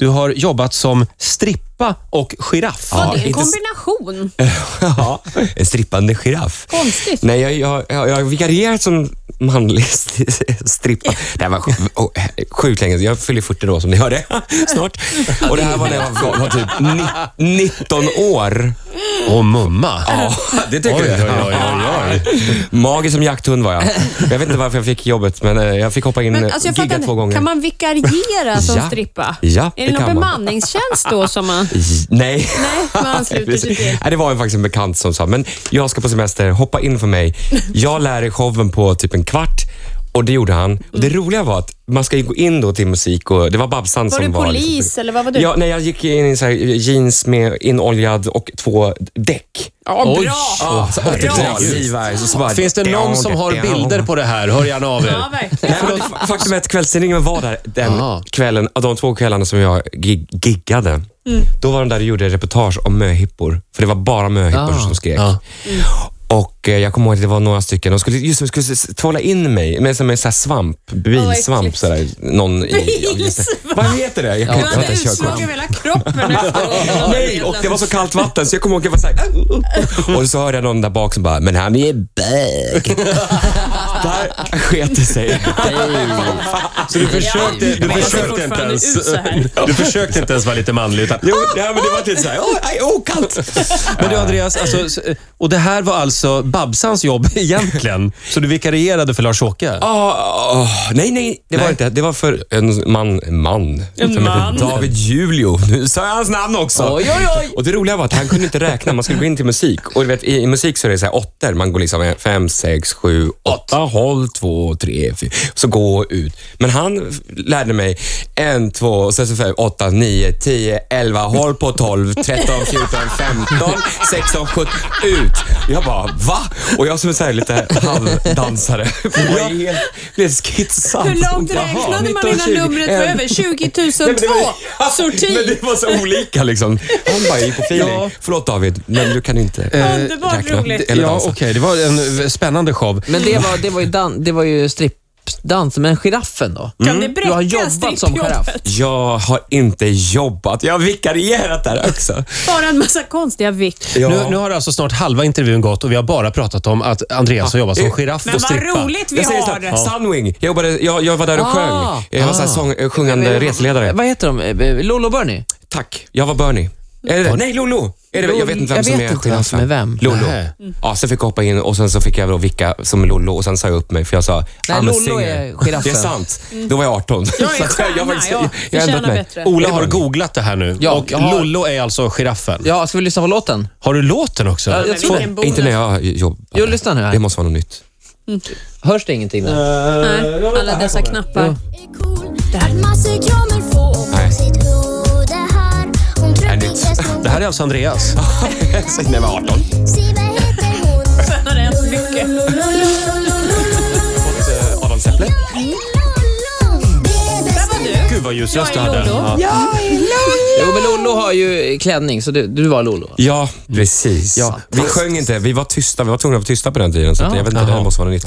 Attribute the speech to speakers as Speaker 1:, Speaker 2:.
Speaker 1: Du har jobbat som strippa och giraff.
Speaker 2: Vad det är en
Speaker 3: inte s-
Speaker 2: kombination.
Speaker 3: Ja, en eh, strippande giraff.
Speaker 2: Konstigt.
Speaker 3: Nej, jag, jag, jag, jag har vikarierat som manlig st- strippa. Det här var sj- oh, sjukt länge sedan. Jag fyller 40 då som ni hörde snart. Och det här var när jag var, var typ ni, 19 år.
Speaker 1: Och mumma.
Speaker 3: Ja, det
Speaker 1: Oj,
Speaker 3: tycker
Speaker 1: oj,
Speaker 3: jag.
Speaker 1: oj, oj, oj.
Speaker 3: Magisk som jakthund var jag. Jag vet inte varför jag fick jobbet, men eh, jag fick hoppa in
Speaker 2: Men
Speaker 3: och
Speaker 2: alltså jag fattar
Speaker 3: gigga två
Speaker 2: inte,
Speaker 3: gånger.
Speaker 2: kan man vikariera som
Speaker 3: Ja.
Speaker 2: strippa?
Speaker 3: Ja,
Speaker 2: är
Speaker 3: det
Speaker 2: det någon
Speaker 3: kan man.
Speaker 2: bemanningstjänst då som man...
Speaker 3: J- Nej.
Speaker 2: Nej, man ansluter sig till.
Speaker 3: Nej, det var ju faktiskt en bekant som sa, men jag ska på semester, hoppa in för mig. Jag lär dig showen på typ en kvart och det gjorde han. Och det roliga var att man ska ju gå in då till musik och det var Babsan
Speaker 2: Mm. Var
Speaker 3: som
Speaker 2: du
Speaker 3: var... liksom
Speaker 2: polis eller vad var du?
Speaker 3: Ja, nej, jag gick in i så här eh, jeans med inoljad och två däck.
Speaker 2: Ja,
Speaker 1: Oj.
Speaker 3: Ja, så 80-tal.
Speaker 1: Bra.
Speaker 3: Levi's och så bara-
Speaker 1: Finns det någon som har bilder på det här? Hör gärna av
Speaker 2: Ja,
Speaker 1: er.
Speaker 2: verkligen.
Speaker 3: Nej, men fa- faktum är att kvällstidningen var där den
Speaker 1: Ah.
Speaker 3: kvällen, av de två kvällarna som jag gig giggade.
Speaker 2: Mm.
Speaker 3: Då var de där och gjorde reportage om möhippor, för det var bara möhippor
Speaker 1: Ah.
Speaker 3: som skrek.
Speaker 1: Ja.
Speaker 3: Och eh, Jag kommer ihåg att det var några stycken, de skulle, just, de skulle s- tvåla in mig med, som en sån här svamp, bilsvamp.
Speaker 2: äckligt.
Speaker 3: Så där, någon i,
Speaker 2: Bilsvamp.
Speaker 3: vad heter det? Jag kan
Speaker 2: Du
Speaker 3: inte
Speaker 2: hade
Speaker 3: fatta
Speaker 2: utslag
Speaker 3: körkort.
Speaker 2: över hela kroppen efter
Speaker 3: Nej, och det var så kallt vatten så jag kommer ihåg att jag var såhär... Och så hörde jag någon där bak som bara, men han är bög. där sket det sig.
Speaker 1: Så du försökte,
Speaker 2: Ja,
Speaker 1: du
Speaker 2: men jag ser
Speaker 1: försökte inte
Speaker 2: fortfarande
Speaker 1: ens...
Speaker 2: ut så här.
Speaker 1: Du försökte inte ens vara lite manlig. Utan,
Speaker 3: Jo, nej, men det var lite såhär, åh, aj, åh kallt.
Speaker 1: men du Andreas, alltså, s- och det här var alltså Babsans jobb egentligen. Så du vikarierade för Lars-Åke?
Speaker 3: Ah, ah, nej, nej, det var
Speaker 1: Nej.
Speaker 3: inte. Det var för en man. man en
Speaker 2: man.
Speaker 3: David Julio. Nu sa jag hans namn också.
Speaker 1: Oj, oj, oj.
Speaker 3: Och Det roliga var att han kunde inte räkna. Man skulle gå in till musik. Och du vet, i, I musik så är det så här åttor. Man går liksom fem, sex, sju, åtta, håll, två, tre, fyra. Så gå ut. Men han f- lärde mig en, två, och sen så fem, åtta, nio, tio, elva, håll på tolv, tretton, fjorton, femton, sexton, sjutton, ut. Jag bara, va? Och jag som är så här lite halvdansare. Jag är helt- blev skitsad.
Speaker 2: Hur långt
Speaker 3: Jaha,
Speaker 2: räknade man
Speaker 3: 19,
Speaker 2: innan
Speaker 3: 20,
Speaker 2: numret var
Speaker 3: en.
Speaker 2: över? 20
Speaker 3: Nej, men det
Speaker 2: 002?
Speaker 3: var- Men
Speaker 2: Sorti.
Speaker 3: det var så olika liksom. Han bara gick på feeling.
Speaker 1: Ja.
Speaker 3: Förlåt David, men du kan inte
Speaker 2: Eh, Underbart
Speaker 3: räkna
Speaker 2: roligt.
Speaker 3: eller
Speaker 1: ja,
Speaker 3: dansa.
Speaker 1: okej. Det var en eh, spännande show.
Speaker 4: Men det var, det var ju, dan, det var ju strippdans, men giraffen då?
Speaker 2: Kan
Speaker 3: Mm.
Speaker 2: det
Speaker 4: Du har
Speaker 2: bräcka
Speaker 4: jobbat som
Speaker 2: strippjobbet?
Speaker 4: giraff.
Speaker 3: Jag har inte jobbat. Jag har vikarierat där också.
Speaker 2: Bara en massa konstiga vikt.
Speaker 3: Ja.
Speaker 1: Nu, nu har alltså snart halva intervjun gått och vi har bara pratat om att Andreas har jobbat som giraff
Speaker 2: Men
Speaker 1: och
Speaker 2: vad
Speaker 1: strippa.
Speaker 2: roligt vi
Speaker 3: jag säger så
Speaker 2: har.
Speaker 3: här, Sunwing. Jag, jobbade, jag, jag var där och
Speaker 4: Ah.
Speaker 3: sjöng. Jag var så här sång, eh, sjungande reseledare.
Speaker 4: Vad heter de? Eh, Lolo och Bernie?
Speaker 3: Tack. Jag var Bernie. Eller, nej, Lolo. Är det, jag vet inte vem
Speaker 4: Jag
Speaker 3: som
Speaker 4: vet
Speaker 3: är
Speaker 4: inte vem som är vem.
Speaker 3: Lolo.
Speaker 1: Nej.
Speaker 3: Ja, sen fick jag hoppa in och sen så fick jag då vicka som Lolo och sen sa jag upp mig för jag sa
Speaker 4: Nej,
Speaker 3: I'm a
Speaker 4: Lolo
Speaker 3: singer.
Speaker 4: är giraffen.
Speaker 3: Det är sant. Då var jag 18.
Speaker 2: Jag är
Speaker 3: Så att
Speaker 2: stjärna, ja.
Speaker 3: jag har ändrat
Speaker 2: Förtjänar
Speaker 3: mig. Oh.
Speaker 2: bättre.
Speaker 1: Ola har googlat det här nu
Speaker 4: Ja,
Speaker 1: och
Speaker 4: jag har-
Speaker 1: Lollo är alltså giraffen.
Speaker 4: Ja, ska vi lyssna på låten?
Speaker 1: Har du låten också?
Speaker 4: Ja, jag
Speaker 2: Men
Speaker 4: tror
Speaker 2: vilken bonus.
Speaker 3: Inte när jag jobbar.
Speaker 4: Jo, lyssna nu här.
Speaker 3: Det måste vara något nytt.
Speaker 4: Hörs det ingenting där?
Speaker 2: Nej, alla dessa knappar.
Speaker 1: Det här är alltså Andreas.
Speaker 3: Säg när jag var 18.
Speaker 2: Sen har det hänt mycket.
Speaker 3: Adam Zeppelin.
Speaker 2: Där var du.
Speaker 1: Gud vad ljus röst du
Speaker 2: Jag är
Speaker 1: hade.
Speaker 2: Lollo.
Speaker 1: Ja.
Speaker 4: Jo, men Lolo har ju klänning, så du, du var Lollo.
Speaker 3: Ja, precis.
Speaker 4: Ja.
Speaker 3: Vi sjöng inte, vi var tysta. Vi var tvungna att vara tysta på den tiden. Så att
Speaker 4: Ja.
Speaker 3: jag vet inte, det här
Speaker 1: Jaha.
Speaker 3: måste vara något nytt.